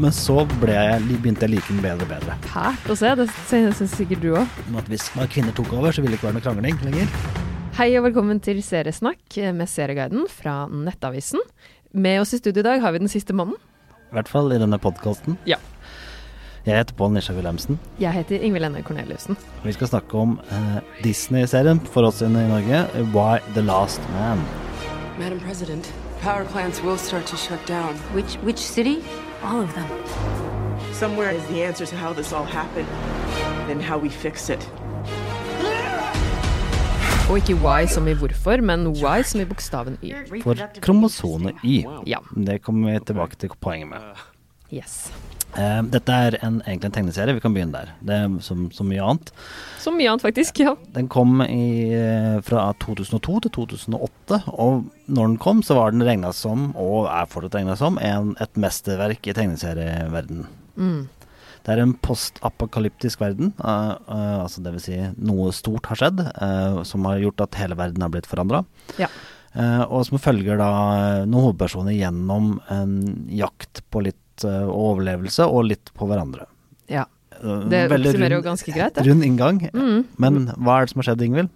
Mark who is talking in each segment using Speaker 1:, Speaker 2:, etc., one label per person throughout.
Speaker 1: Men så ble jeg, begynte jeg å like den bedre og bedre.
Speaker 2: Fælt å se. Det syns sikkert du òg.
Speaker 1: Men at hvis når kvinner tok over, så ville det ikke være noe krangling lenger.
Speaker 2: Hei og velkommen til Seriesnakk med Serieguiden fra Nettavisen. Med oss i studio i dag har vi den siste mannen.
Speaker 1: I hvert fall i denne podkasten.
Speaker 2: Ja.
Speaker 1: Jeg heter Pål Nisha Wilhelmsen.
Speaker 2: Jeg heter Ingvild Enne Corneliussen.
Speaker 1: og Vi skal snakke om eh, Disney-serien for oss i Norge, Why the Last Man.
Speaker 3: Madam President, power plants will start to shut down.
Speaker 4: Which which city? All of them.
Speaker 3: Somewhere is the answer to how this all happened and how we fix it.
Speaker 2: Og ikke why som i hvorfor, men why som i bokstaven y.
Speaker 1: For kromosonet Y.
Speaker 2: Ja.
Speaker 1: Det kommer vi tilbake til poenget med.
Speaker 2: Yes.
Speaker 1: Eh, dette er en, egentlig en tegneserie. Vi kan begynne der. Det er som, som mye annet.
Speaker 2: Så mye annet, faktisk. Ja.
Speaker 1: Den kom i, eh, fra 2002 til 2008, og når den kom, så var den regna som, og er fortsatt regna som, en, et mesterverk i tegneserieverdenen. Det er en postapokalyptisk verden, eh, eh, altså det vil Si noe stort har skjedd, eh, som har gjort at hele verden har blitt forandra.
Speaker 2: ja.
Speaker 1: Eh, og som følger da eh, noen hovedpersoner gjennom en jakt på litt eh, overlevelse og litt på hverandre.
Speaker 2: ja.
Speaker 1: Eh,
Speaker 2: Det
Speaker 1: veldig
Speaker 2: oppsummerer jo
Speaker 1: rund-
Speaker 2: ganske greit, Mm. det.
Speaker 1: Rund inngang. Men hva er det som har skjedd, Ingvild?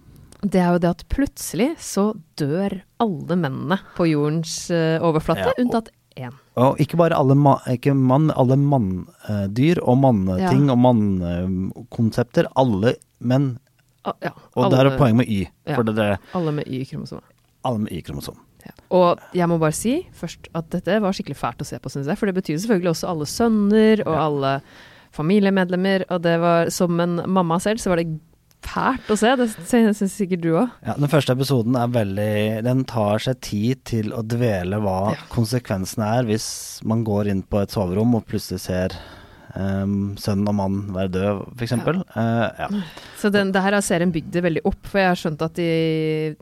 Speaker 2: Det er jo det at plutselig så dør alle mennene på jordens eh, overflate,
Speaker 1: Ja, og-
Speaker 2: unntatt én.
Speaker 1: Og ikke bare alle, ma ikke mann, alle manndyr og manneting
Speaker 2: Ja.
Speaker 1: og mannkonsepter. Alle menn.
Speaker 2: Ah, ja,
Speaker 1: Og
Speaker 2: alle,
Speaker 1: der er poenget med Y.
Speaker 2: Ja.
Speaker 1: For det er
Speaker 2: Alle med Y-kromosomer.
Speaker 1: alle med Y-kromosom.
Speaker 2: Ja. Og jeg må bare si først at dette var skikkelig fælt å se på, syns jeg. For det betyr selvfølgelig også alle sønner og alle familiemedlemmer. Og det var, som en mamma selv, så var det fælt å se. Det syns sikkert du òg.
Speaker 1: Ja, den første episoden er veldig Den tar seg tid til å dvele hva
Speaker 2: Ja.
Speaker 1: konsekvensene er hvis man går inn på et soverom og plutselig ser um, sønn og mann være død, f.eks.
Speaker 2: Mm.
Speaker 1: ja.
Speaker 2: Så den, det her har serien bygd det veldig opp. For jeg har skjønt at i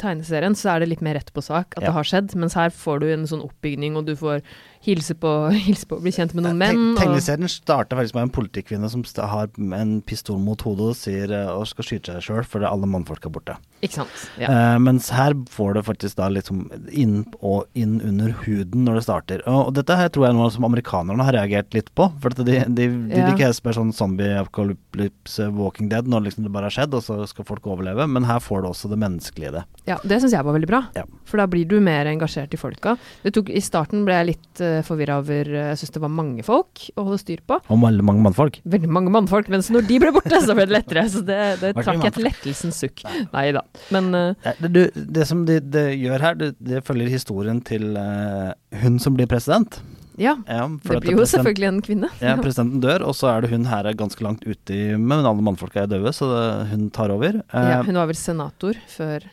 Speaker 2: tegneserien så er det litt mer rett på sak at
Speaker 1: Ja.
Speaker 2: det har skjedd. Mens her får du en sånn oppbygning, og du får hilse på, hilse på bli kjent med noen menn.
Speaker 1: Teg-
Speaker 2: Og,
Speaker 1: Tegneserien starter faktisk med en politikvinne som st- har en pistol mot hodet og sier eh, og skal skyte seg sjøl fordi alle mannfolk er borte.
Speaker 2: ikke sant. Ja.
Speaker 1: Eh, mens her får det faktisk da liksom inn og inn under huden når det starter. Og, og dette her tror jeg er noe som amerikanerne har reagert litt på. For at de, de, de
Speaker 2: Ja.
Speaker 1: liker helst mer sånn zombie-apokalypse, Walking Dead, når liksom det bare har skjedd, og så skal folk overleve. Men her får du også det menneskelige i det.
Speaker 2: Ja, det syns jeg var veldig bra.
Speaker 1: Ja.
Speaker 2: For da blir du mer engasjert i folka. Det tok, I starten ble jeg litt uh, forvirra over eh, Jeg syns det var mange folk å holde styr på.
Speaker 1: Og veldig mange mannfolk.
Speaker 2: Veldig mange mannfolk, mens når de ble borte, så ble det lettere. Så det, det
Speaker 1: Var det
Speaker 2: trakk jeg
Speaker 1: mannfolk?
Speaker 2: et lettelsens sukk. Nei da. Men eh,
Speaker 1: Eh, Det, du, det som de, de gjør her, det, det følger historien til eh, hun som blir president.
Speaker 2: ja.
Speaker 1: Ja,
Speaker 2: Det blir jo selvfølgelig en kvinne.
Speaker 1: Ja, presidenten dør, og så er det hun her er ganske langt ute i Men alle mannfolka er døde, så det- hun tar over. Eh,
Speaker 2: Ja, hun var vel senator før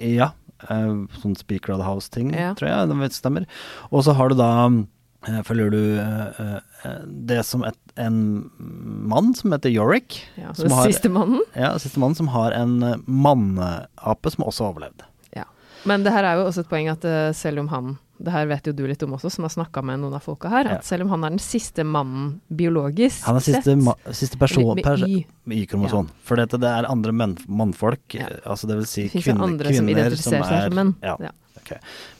Speaker 1: Ja. eh, sånn Speaker of the House-ting,
Speaker 2: Ja.
Speaker 1: tror jeg. Det vet- stemmer. Og så har du da eh, Følger du eh, eh, det som et, en mann som heter Yorick.
Speaker 2: ja,
Speaker 1: som
Speaker 2: den
Speaker 1: har,
Speaker 2: siste mannen.
Speaker 1: ja, siste mann som har en eh, manneape som også overlevde.
Speaker 2: Ja. Men det her er jo også et poeng at eh, selv om han det her vet jo du litt om også, som har snakka med noen av folka her.
Speaker 1: Ja.
Speaker 2: At selv om han er den siste mannen biologisk
Speaker 1: Han er siste,
Speaker 2: sett,
Speaker 1: ma siste person
Speaker 2: Med- med
Speaker 1: pers-
Speaker 2: Y.
Speaker 1: med Y-kromoson. For dette, det er andre menn, mannfolk,
Speaker 2: Ja.
Speaker 1: eh, altså det vil si
Speaker 2: Det finnes jo
Speaker 1: kvinner,
Speaker 2: andre som
Speaker 1: kvinner som,
Speaker 2: identifiserer seg
Speaker 1: er
Speaker 2: som menn.
Speaker 1: Ja,
Speaker 2: Ja.
Speaker 1: ok.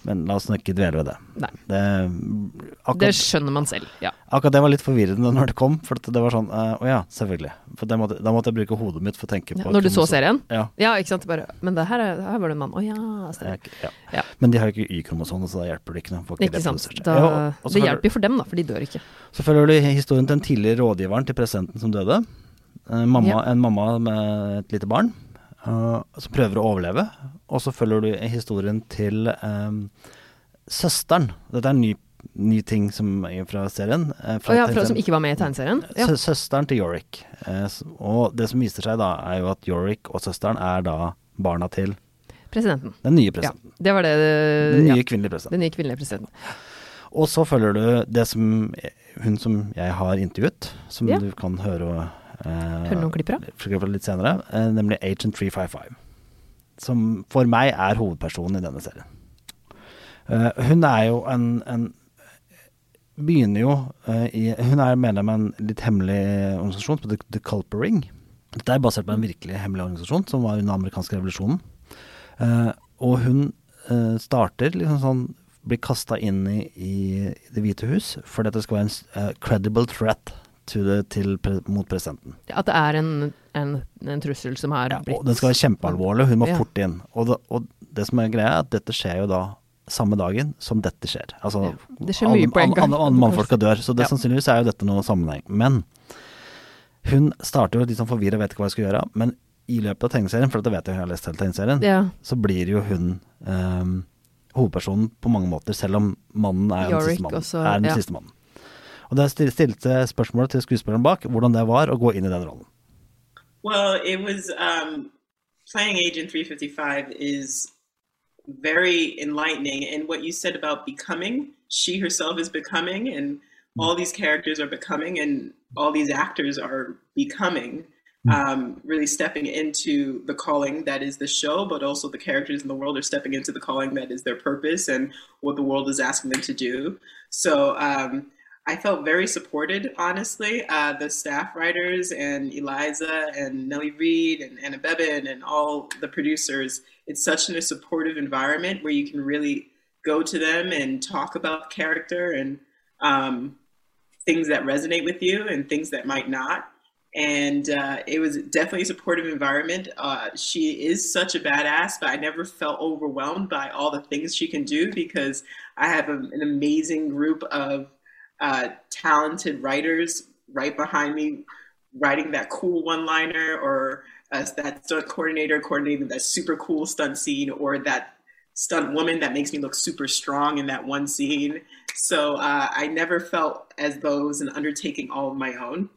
Speaker 1: Men la oss nå ikke dvele ved det.
Speaker 2: Nei.
Speaker 1: Det,
Speaker 2: Det
Speaker 1: akkurat,
Speaker 2: skjønner man selv, ja.
Speaker 1: akkurat det var litt forvirrende når det kom, for at det var sånn eh, Å ja, selvfølgelig. For det måtte, da måtte jeg bruke hodet mitt for å tenke på
Speaker 2: Når du så
Speaker 1: kromosom.
Speaker 2: serien?
Speaker 1: Ja.
Speaker 2: Ja, ikke sant. Bare, men det her, er, her var det en mann. Å ja.
Speaker 1: Det er
Speaker 2: stemmer.
Speaker 1: ikke- ja.
Speaker 2: Ja.
Speaker 1: Men de har jo ikke Y-kromosoner, så da hjelper det ikke. noe, får ikke
Speaker 2: Ikke
Speaker 1: det
Speaker 2: sant.
Speaker 1: produsert.
Speaker 2: Da,
Speaker 1: Ja, og- og så
Speaker 2: det
Speaker 1: følger-
Speaker 2: hjelper jo for dem, da, for de dør ikke.
Speaker 1: Så følger du historien til den tidligere rådgiveren til presidenten som døde. Eh, Mamma,
Speaker 2: Ja.
Speaker 1: En mamma med et lite barn eh, som prøver å overleve. Og så følger du historien til eh, søsteren. Dette er en ny, ny ting som er fra serien. eh,
Speaker 2: Å ja, fra,
Speaker 1: tegneserien.
Speaker 2: som ikke var med i tegneserien? Ja.
Speaker 1: Sø- Søsteren til Yorick. Eh, s- og det som viser seg da, er jo at Yorick og søsteren er da barna til
Speaker 2: Presidenten.
Speaker 1: den nye
Speaker 2: Ja,
Speaker 1: presidenten.
Speaker 2: det var det
Speaker 1: Den nye
Speaker 2: ja,
Speaker 1: kvinnelige presidenten.
Speaker 2: Den nye kvinnelige presidenten.
Speaker 1: Og så følger du det som eh, hun som jeg har intervjuet, som
Speaker 2: Ja.
Speaker 1: du kan høre og eh,
Speaker 2: Høre noen klipper av?
Speaker 1: for eksempel litt senere, eh, nemlig Agent 355. Som for meg er hovedpersonen i denne serien. Eh, hun er jo en, en Begynner jo eh, i Hun er medlem av en litt hemmelig eh, organisasjon som heter The Culper Ring. Dette er basert på en virkelig hemmelig organisasjon som var under den amerikanske revolusjonen. Eh, og hun eh, starter liksom sånn blir kasta inn i, i Det hvite hus fordi at det skal være en s- eh, credible threat to the, til, pre- mot presidenten.
Speaker 2: At det er en, en, en trussel som har
Speaker 1: Ja,
Speaker 2: blitt
Speaker 1: og den skal være kjempealvorlig, hun må
Speaker 2: Ja.
Speaker 1: fort inn. Og det, og det som er greia, er at dette skjer jo da samme dagen som dette skjer. Altså,
Speaker 2: Ja, det skjer
Speaker 1: alle,
Speaker 2: mye på en
Speaker 1: alle-
Speaker 2: gang.
Speaker 1: Alle, alle mannfolka dør, så det
Speaker 2: Ja.
Speaker 1: sannsynligvis er jo dette noe sammenheng. Men hun starter jo litt sånn forvirra, vet ikke hva hun skal gjøre. Men i løpet av tegneserien, for dette vet jeg, jeg har lest hele tegneserien,
Speaker 2: ja.
Speaker 1: så blir jo hun ehm, hovedpersonen på mange måter, selv om mannen er den siste
Speaker 2: Yorick
Speaker 1: mannen.
Speaker 2: også,
Speaker 1: er den
Speaker 2: ja.
Speaker 1: siste mannen. Og da stil- stilte spørsmålet til skuespilleren bak hvordan det var å gå inn i den rollen.
Speaker 5: Well, it was um, playing Agent 355 is very enlightening. And what you said about becoming, she herself is becoming, and all these characters are becoming, and all these actors are becoming, um, really stepping into the calling that is the show, but also the characters in the world are stepping into the calling that is their purpose and what the world is asking them to do. So, um, I felt very supported, honestly. Uh, the staff writers and Eliza and Nellie Reed and Anna Bevan and all the producers. It's such a supportive environment where you can really go to them and talk about character and um, things that resonate with you and things that might not. And uh, it was definitely a supportive environment. Uh, she is such a badass, but I never felt overwhelmed by all the things she can do because I have a, an amazing group of uh, talented writers right behind me writing that cool one liner or uh, that stunt coordinator coordinating that super cool stunt scene or that stunt woman that makes me look super strong in that one scene. So uh, I never felt as though it was an undertaking all of my own.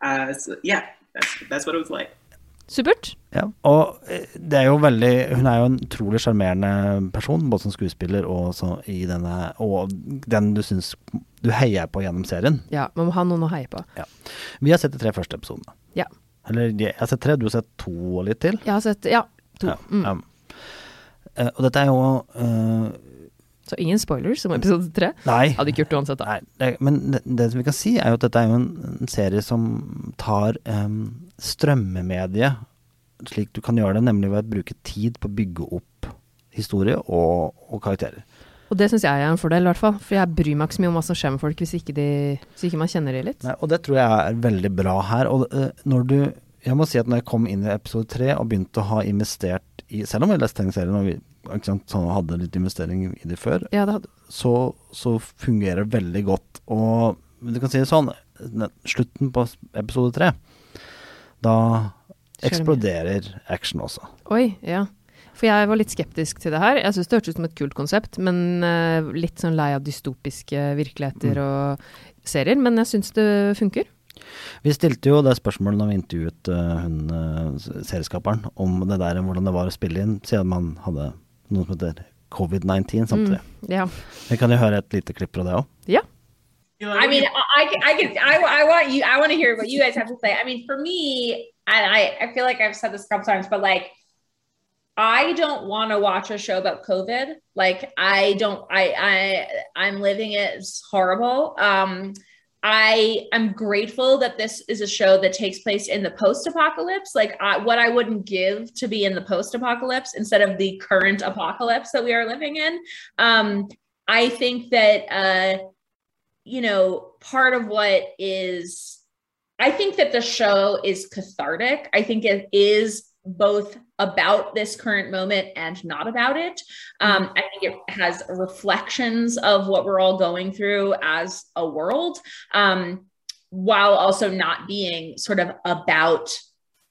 Speaker 5: Uh, so yeah, that's, that's what it was like.
Speaker 2: Supert.
Speaker 1: Ja, og eh, det er jo veldig Hun er jo en utrolig sjarmerende person, både som skuespiller og, så i denne, og den du syns du heier på gjennom serien.
Speaker 2: Ja, man må ha noen å heie på.
Speaker 1: Ja. Vi har sett de tre første episodene.
Speaker 2: Ja.
Speaker 1: Eller jeg har sett tre, du har sett to og litt til.
Speaker 2: Jeg har sett Ja, to.
Speaker 1: Ja, ja. Eh, og dette er jo eh,
Speaker 2: Så ingen spoilers om episode tre.
Speaker 1: Nei.
Speaker 2: Hadde ikke gjort det uansett, da.
Speaker 1: Nei, det, men det, det som vi kan si er jo at dette er jo en, en serie som tar em, strømmemediet slik du kan gjøre det, nemlig ved å bruke tid på å bygge opp historie og, og karakterer.
Speaker 2: Og det syns jeg er en fordel, i hvert fall. For jeg bryr meg ikke så mye om hva som skjer med folk, hvis ikke, de, hvis ikke man kjenner de litt.
Speaker 1: Nei, og det tror jeg er veldig bra her. Og eh, når du Jeg må si at når jeg kom inn i episode tre og begynte å ha investert i Selv om jeg leste tegneserien og vi, ikke sant, sånn, hadde litt investering i det før,
Speaker 2: Ja, det hadde
Speaker 1: så, så fungerer det veldig godt. Og du kan si det sånn, ne- slutten på episode tre, da
Speaker 2: Skjer det
Speaker 1: eksploderer action også.
Speaker 2: Oi, ja. For jeg var litt skeptisk til det her. Jeg syns det hørtes ut som et kult konsept, men eh, litt sånn lei av dystopiske
Speaker 1: Mm.
Speaker 2: virkeligheter og serier. Men jeg syns det funker.
Speaker 1: Vi stilte jo det spørsmålet når vi intervjuet eh, hun eh, s- serieskaperen om det der hvordan det var å spille inn, siden man hadde noe som heter covid-19 samtidig.
Speaker 2: Ja.
Speaker 1: Vi kan jo høre et lite klipp fra det òg.
Speaker 2: ja.
Speaker 6: I mean, I I can, I can, I, I want you, I want to hear what you guys have to say. I mean, for me, and I, I feel like I've said this a couple times, but like, I don't want to watch a show about COVID. Like, I don't, I, I, I'm living it. It's horrible. Um, I am grateful that this is a show that takes place in the post-apocalypse. Like, I, what I wouldn't give to be in the post-apocalypse instead of the current apocalypse that we are living in. Um, I think that. Uh, you know, part of what is, I think that the show is cathartic. I think it is both about this current moment and not about it. Um, I think it has reflections of what we're all going through as a world, um, while also not being sort of about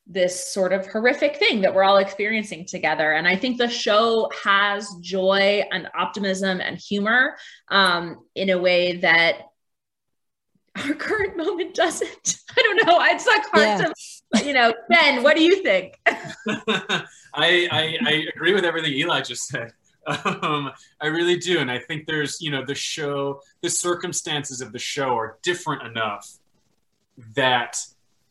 Speaker 6: this sort of horrific thing that we're all experiencing together. And I think the show has joy and optimism and humor um, in a way that our current moment doesn't. I don't know. It's like hard to, you know, Ben, what do you think?
Speaker 7: I, I I agree with everything Eli just said. Um, I really do, and I think there's you know the show, the circumstances of the show are different enough that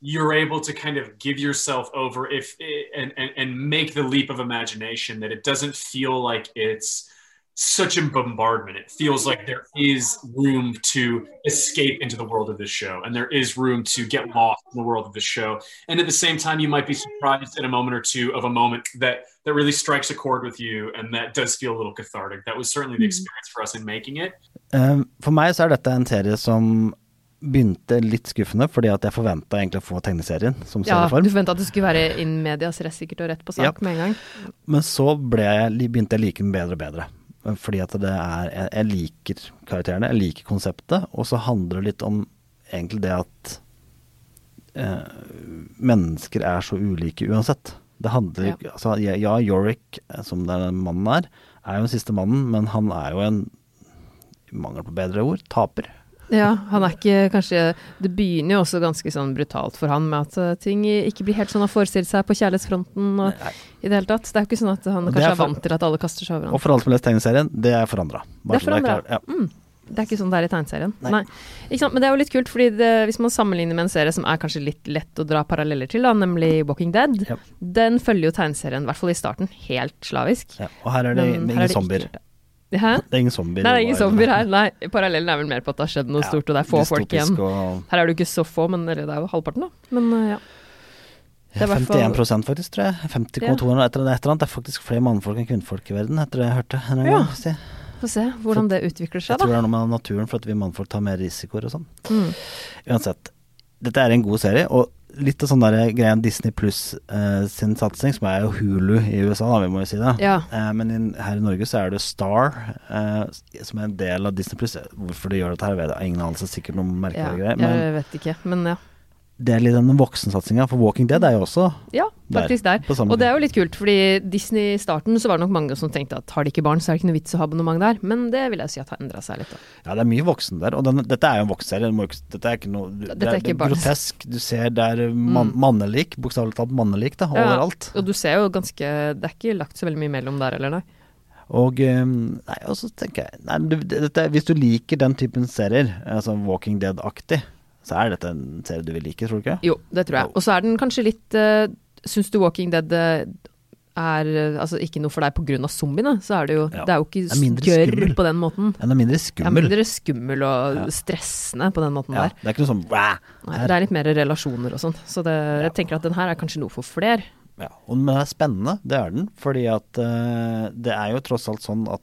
Speaker 7: you're able to kind of give yourself over if and and, and make the leap of imagination that it doesn't feel like it's such a bombardment. It feels like there is room to escape into the world of this show, and there is room to get lost in the world of this show. And at the same time, you might be surprised at a moment or two of a moment that that really strikes a chord with you, and that does feel a little cathartic. That was certainly the experience for us in making it.
Speaker 1: Um, For meg så er dette en serie som begynte litt skuffende, fordi at jeg forventa egentlig å få tegneserien som
Speaker 2: Ja,
Speaker 1: serieform.
Speaker 2: du forventa at det skulle være in medias res sikkert og rett på sak
Speaker 1: Ja.
Speaker 2: med en gang.
Speaker 1: Men så ble jeg, begynte jeg å like den bedre og bedre. Fordi at det er Jeg, jeg liker karakterene, jeg liker konseptet, og så handler det litt om egentlig det at eh, mennesker er så ulike uansett. Det handler
Speaker 2: Ja.
Speaker 1: ikke altså, ja, ja, Yorick, eh, som den mannen er, er jo den siste mannen, men han er jo en i Mangel på bedre ord taper.
Speaker 2: Ja, han er ikke kanskje Det begynner jo også ganske sånn brutalt for han med at eh, ting ikke blir helt sånn han forestiller seg på kjærlighetsfronten og i det hele tatt. Det er jo ikke sånn at han
Speaker 1: Og det
Speaker 2: kanskje
Speaker 1: er
Speaker 2: er
Speaker 1: for-
Speaker 2: vant til at alle kaster seg over
Speaker 1: Og
Speaker 2: han.
Speaker 1: for alle som har lest tegneserien, det er forandra.
Speaker 2: Det er forandret. Mm.
Speaker 1: Ja.
Speaker 2: Det er ikke sånn det er i tegneserien.
Speaker 1: Nei.
Speaker 2: Nei. Ikke sant? Men det er jo litt kult, fordi det, hvis man sammenligner med en serie som er kanskje litt lett å dra paralleller til, da, nemlig Walking Dead,
Speaker 1: Ja.
Speaker 2: den følger jo tegneserien, i hvert fall i starten, helt slavisk.
Speaker 1: Ja. Og her er det,
Speaker 2: Men
Speaker 1: det
Speaker 2: her
Speaker 1: er ingen
Speaker 2: er det ikke
Speaker 1: zombier.
Speaker 2: gjort det. Hæ?
Speaker 1: Det er ingen zombier.
Speaker 2: Nei, det er
Speaker 1: i
Speaker 2: ingen
Speaker 1: verden.
Speaker 2: zombier her. Nei, parallellen er vel mer på at det har skjedd noe
Speaker 1: Ja,
Speaker 2: stort, og det er få folk igjen.
Speaker 1: dystopisk og-
Speaker 2: Her er det jo ikke så få, men eller, det er jo halvparten, da. Men øh, ja. Det er i hvert fall-
Speaker 1: 51 faktisk, tror jeg. 50,2 eller et eller annet. et eller annet. Det er faktisk flere mannfolk enn kvinnfolk i verden, etter det jeg hørte. en
Speaker 2: Ja.
Speaker 1: gang. Så jeg-
Speaker 2: Få se hvordan det utvikler
Speaker 1: Jeg tror
Speaker 2: seg, da. Mm.
Speaker 1: det er noe med naturen, for at vi mannfolk tar mer risikoer og sånn. Uansett, dette er en god serie, og litt av sånn der greia Disney pluss sin satsing, som er jo Hulu i USA, da, vi må jo si det.
Speaker 2: Ja.
Speaker 1: Eh, men i- her i Norge så er det Star, eh, som er en del av Disney pluss. Hvorfor de gjør dette her, vet jeg ingen anelse, sikkert noen
Speaker 2: Ja,
Speaker 1: merkelige greier. Men
Speaker 2: jeg vet ikke, men ja.
Speaker 1: det er litt den voksensatsinga, for Walking Dead er jo også
Speaker 2: Ja,
Speaker 1: Der,
Speaker 2: faktisk der.
Speaker 1: på samme
Speaker 2: Og det
Speaker 1: tid.
Speaker 2: er jo litt kult, fordi Disney i starten så var det nok mange som tenkte at har de ikke barn, så er det ikke noe vits å ha abonnement der. Men det vil jeg si at har endra seg litt. Da.
Speaker 1: Ja, det er mye voksen der. Og den, dette er jo en voksenserie. du må ikke- Dette er ikke noe du-
Speaker 2: Dette
Speaker 1: Det
Speaker 2: er
Speaker 1: er,
Speaker 2: ikke
Speaker 1: det er
Speaker 2: barn. Mm.
Speaker 1: grotesk. Du ser det er eh, man, mannelik, bokstavelig talt mannelik, da,
Speaker 2: Ja,
Speaker 1: overalt.
Speaker 2: Og du ser jo ganske Det er ikke lagt så veldig mye mellom der, eller nei?
Speaker 1: Og, eh, nei, og så tenker jeg nei, du, dette, Hvis du liker den typen serier, eh, sånn Walking Dead-aktig, så er dette en serie du vil like, tror du ikke?
Speaker 2: Jo, det tror jeg. Og så er den kanskje litt uh, Syns du Walking Dead eh, er eh, altså ikke noe for deg pga. zombiene, så er det jo
Speaker 1: Ja.
Speaker 2: Det er jo
Speaker 1: Det er mindre
Speaker 2: ikke gørr
Speaker 1: skummel.
Speaker 2: på den måten.
Speaker 1: Den er mindre
Speaker 2: Det er
Speaker 1: skummel.
Speaker 2: mindre skummel og stressende på den måten
Speaker 1: ja,
Speaker 2: der.
Speaker 1: det er ikke noe sånn "Wah!"
Speaker 2: Nei,
Speaker 1: her.
Speaker 2: det er litt mer relasjoner og sånn. Så det, jeg tenker at den her er kanskje noe for fler.
Speaker 1: Ja, og den er spennende, det er den. Fordi at eh, det er jo tross alt sånn at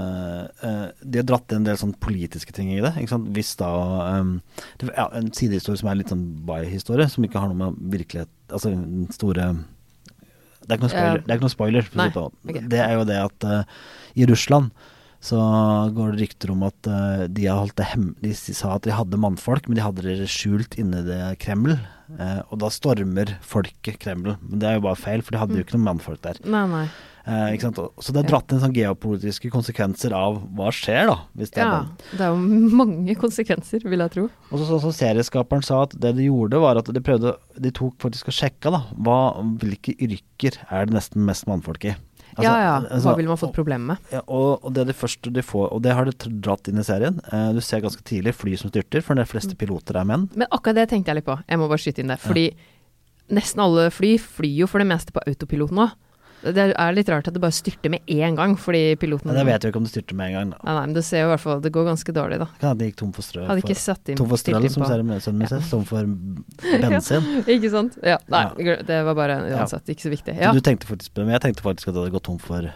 Speaker 1: eh, eh, de har dratt inn en del sånn politiske ting i det. Ikke sant? Hvis da ehm, det, ja, En sidehistorie som er litt sånn by-historie, som ikke har noe med virkelighet Altså den store Det er ikke noe
Speaker 2: Ja.
Speaker 1: spoiler. Det er ikke noe spoiler for å si det
Speaker 2: Nei,
Speaker 1: på.
Speaker 2: ok.
Speaker 1: Det er jo det at eh, i Russland så går det rykter om at eh, de, har holdt det hem de s- sa at de hadde mannfolk, men de hadde det skjult inne i det Kreml. eh, og da stormer folket Kreml. Men det er jo bare feil, for de
Speaker 2: Mm.
Speaker 1: hadde jo ikke noen mannfolk der.
Speaker 2: Nei, nei.
Speaker 1: Eh, ikke sant? Og- Så det er dratt inn sånn geopolitiske konsekvenser av hva skjer, da. Hvis det er
Speaker 2: Ja,
Speaker 1: den.
Speaker 2: det er jo mange konsekvenser, vil jeg tro.
Speaker 1: Og så, så, så serieskaperen sa at det de gjorde var at de prøvde De tok faktisk og sjekka da hva, hvilke yrker er det nesten mest mannfolk i. Altså,
Speaker 2: ja ja, hva
Speaker 1: altså,
Speaker 2: ville man fått problemer med?
Speaker 1: ja, og, og det er det første de får, og det har de tr- dratt inn i serien. Eh, du ser ganske tidlig fly som styrter, for de fleste
Speaker 2: Mm.
Speaker 1: piloter er menn.
Speaker 2: Men akkurat det tenkte jeg litt på, jeg må bare skyte inn der. Fordi nesten alle fly flyr jo for det meste på autopilot nå. Det er litt rart at det bare styrter med én gang, fordi piloten
Speaker 1: Men jeg vet jo ikke om de styrter med en gang. Da.
Speaker 2: Nei, nei, men det ser jo i hvert fall Det går ganske dårlig, da.
Speaker 1: Kan hende de gikk tom for strø.
Speaker 2: Hadde ikke
Speaker 1: for,
Speaker 2: satt inn
Speaker 1: tom for strøl,
Speaker 2: stilt inn
Speaker 1: som
Speaker 2: på-
Speaker 1: sønnen min sier. Tom for bensin.
Speaker 2: Ikke sant? Ja, nei,
Speaker 1: Ja.
Speaker 2: gl- det var bare uansett ikke så viktig. Ja,
Speaker 1: Så du tenkte faktisk på det, men jeg tenkte faktisk at det hadde gått tom for,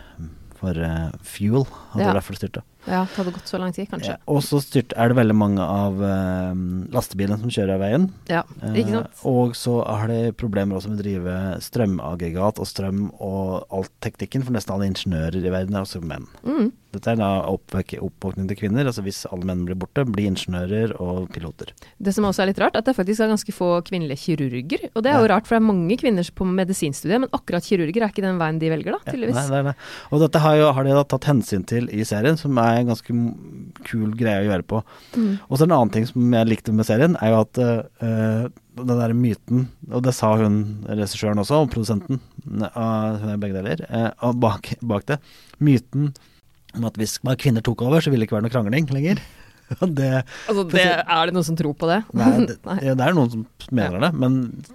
Speaker 1: for eh, fuel. Og det
Speaker 2: Ja.
Speaker 1: var derfor det styrte.
Speaker 2: ja det hadde gått så lang tid, kanskje.
Speaker 1: Ja, og så styrt er det veldig mange av eh, lastebilene som kjører av veien.
Speaker 2: Ja,
Speaker 1: Eh,
Speaker 2: ikke sant?
Speaker 1: og så har de problemer også med å drive strømaggregat og strøm og alt teknikken, for nesten alle ingeniører i verden er også menn.
Speaker 2: Mm.
Speaker 1: Dette er da oppvek- oppvåkning til kvinner. Altså hvis alle menn blir borte, blir ingeniører og piloter.
Speaker 2: Det som også er litt rart, er at det faktisk er ganske få kvinnelige kirurger. Og det er jo rart, for det er mange kvinner på medisinstudiet, men akkurat kirurger er ikke den veien de velger, da, tydeligvis.
Speaker 1: Nei, nei, nei. Og dette har, jo, har de da tatt hensyn til i serien, som er en ganske m- kul greie å gjøre på.
Speaker 2: Mm.
Speaker 1: Og så en annen ting som jeg likte med serien, er jo at eh, den der myten, og det sa hun regissøren også, og produsenten, eh, hun er begge deler, eh, og bak, bak det, myten om at hvis bare kvinner tok over, så ville det ikke være noe krangling lenger. Og det,
Speaker 2: Altså, det, er det noen som tror på det?
Speaker 1: nei, det, det er noen som mener det, men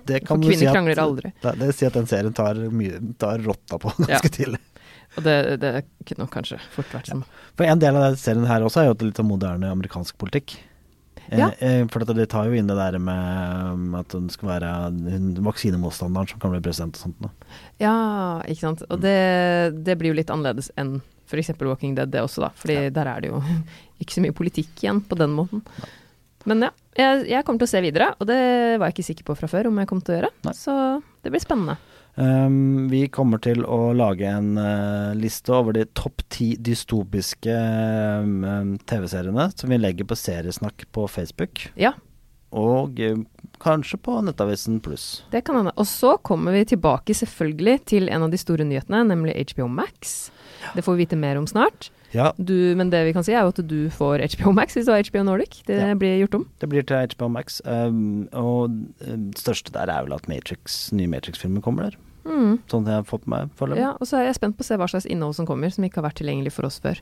Speaker 1: det kan
Speaker 2: For
Speaker 1: du si
Speaker 2: kvinner
Speaker 1: at
Speaker 2: krangler aldri.
Speaker 1: Det, det sier at den serien tar, mye- tar rotta på ganske
Speaker 2: Ja.
Speaker 1: tidlig.
Speaker 2: Og det, det kunne nok kanskje fort vært som
Speaker 1: For en del av den serien her også er jo litt av moderne amerikansk politikk. Eh,
Speaker 2: Ja.
Speaker 1: eh, For at det tar jo inn det der med um, at hun skal være hun vaksinemotstanderen som kan bli president og sånt. Da.
Speaker 2: Ja, ikke sant.
Speaker 1: Mm.
Speaker 2: Og det, det blir jo litt annerledes enn f.eks. Walking Dead, det også, da. Fordi der er det jo ikke så mye politikk igjen på den måten. Men ja, jeg, jeg kommer til å se videre, og det var jeg ikke sikker på fra før om jeg kom til å gjøre.
Speaker 1: Nei.
Speaker 2: Så det blir spennende.
Speaker 1: Um, vi kommer til å lage en eh, liste over de topp ti dystopiske um, um, TV-seriene som vi legger på Seriesnakk på Facebook,
Speaker 2: Ja,
Speaker 1: og eh, kanskje på Nettavisen Pluss.
Speaker 2: det kan hende. Og så kommer vi tilbake selvfølgelig til en av de store nyhetene, nemlig HBO Max. Det får vi vite mer om snart.
Speaker 1: Ja,
Speaker 2: Du, men det vi kan si er jo at du får HBO Max hvis du har HBO Nordic. Det
Speaker 1: Ja.
Speaker 2: blir gjort om.
Speaker 1: det blir til HBO Max. Um, og eh, det største der er vel at Matrix, nye Matrix-filmer kommer der. Sånn jeg har fått med meg foreløpig.
Speaker 2: Mm. Ja, og så er jeg spent på å se hva slags innhold som kommer, som ikke har vært tilgjengelig for oss før.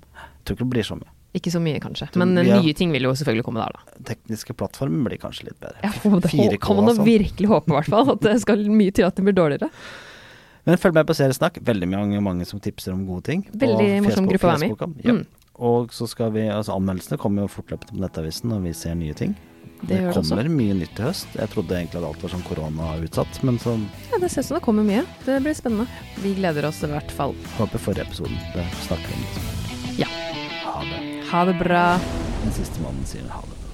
Speaker 1: Tror ikke det blir så mye.
Speaker 2: Ikke så mye, kanskje.
Speaker 1: Du,
Speaker 2: Men eh,
Speaker 1: ja.
Speaker 2: nye ting vil jo selvfølgelig komme der, da.
Speaker 1: Tekniske plattformen blir kanskje litt bedre.
Speaker 2: Jeg håper,
Speaker 1: 4K
Speaker 2: kan man
Speaker 1: og
Speaker 2: jo
Speaker 1: sånn.
Speaker 2: virkelig håpe, i hvert fall. At det skal mye til at det blir dårligere.
Speaker 1: Men følg med på Seriesnakk. Veldig mange, mange som tipser om gode ting. på
Speaker 2: Veldig
Speaker 1: Facebook-
Speaker 2: morsom gruppe å være med i. Mm.
Speaker 1: Facebook-en. Ja. Og så skal vi, altså Anmeldelsene kommer jo fortløpende på Nettavisen når vi ser nye ting.
Speaker 2: Det gjør det også.
Speaker 1: kommer mye nytt til høst. Jeg trodde egentlig at alt var sånn koronautsatt, men så
Speaker 2: Ja, det ser ut som det kommer mye. Det blir spennende. Vi gleder oss i hvert fall.
Speaker 1: håper forrige episoden det snakker vi om det.
Speaker 2: Ja.
Speaker 1: Ha det.
Speaker 2: Ha det bra.
Speaker 1: Den siste mannen sier ha det.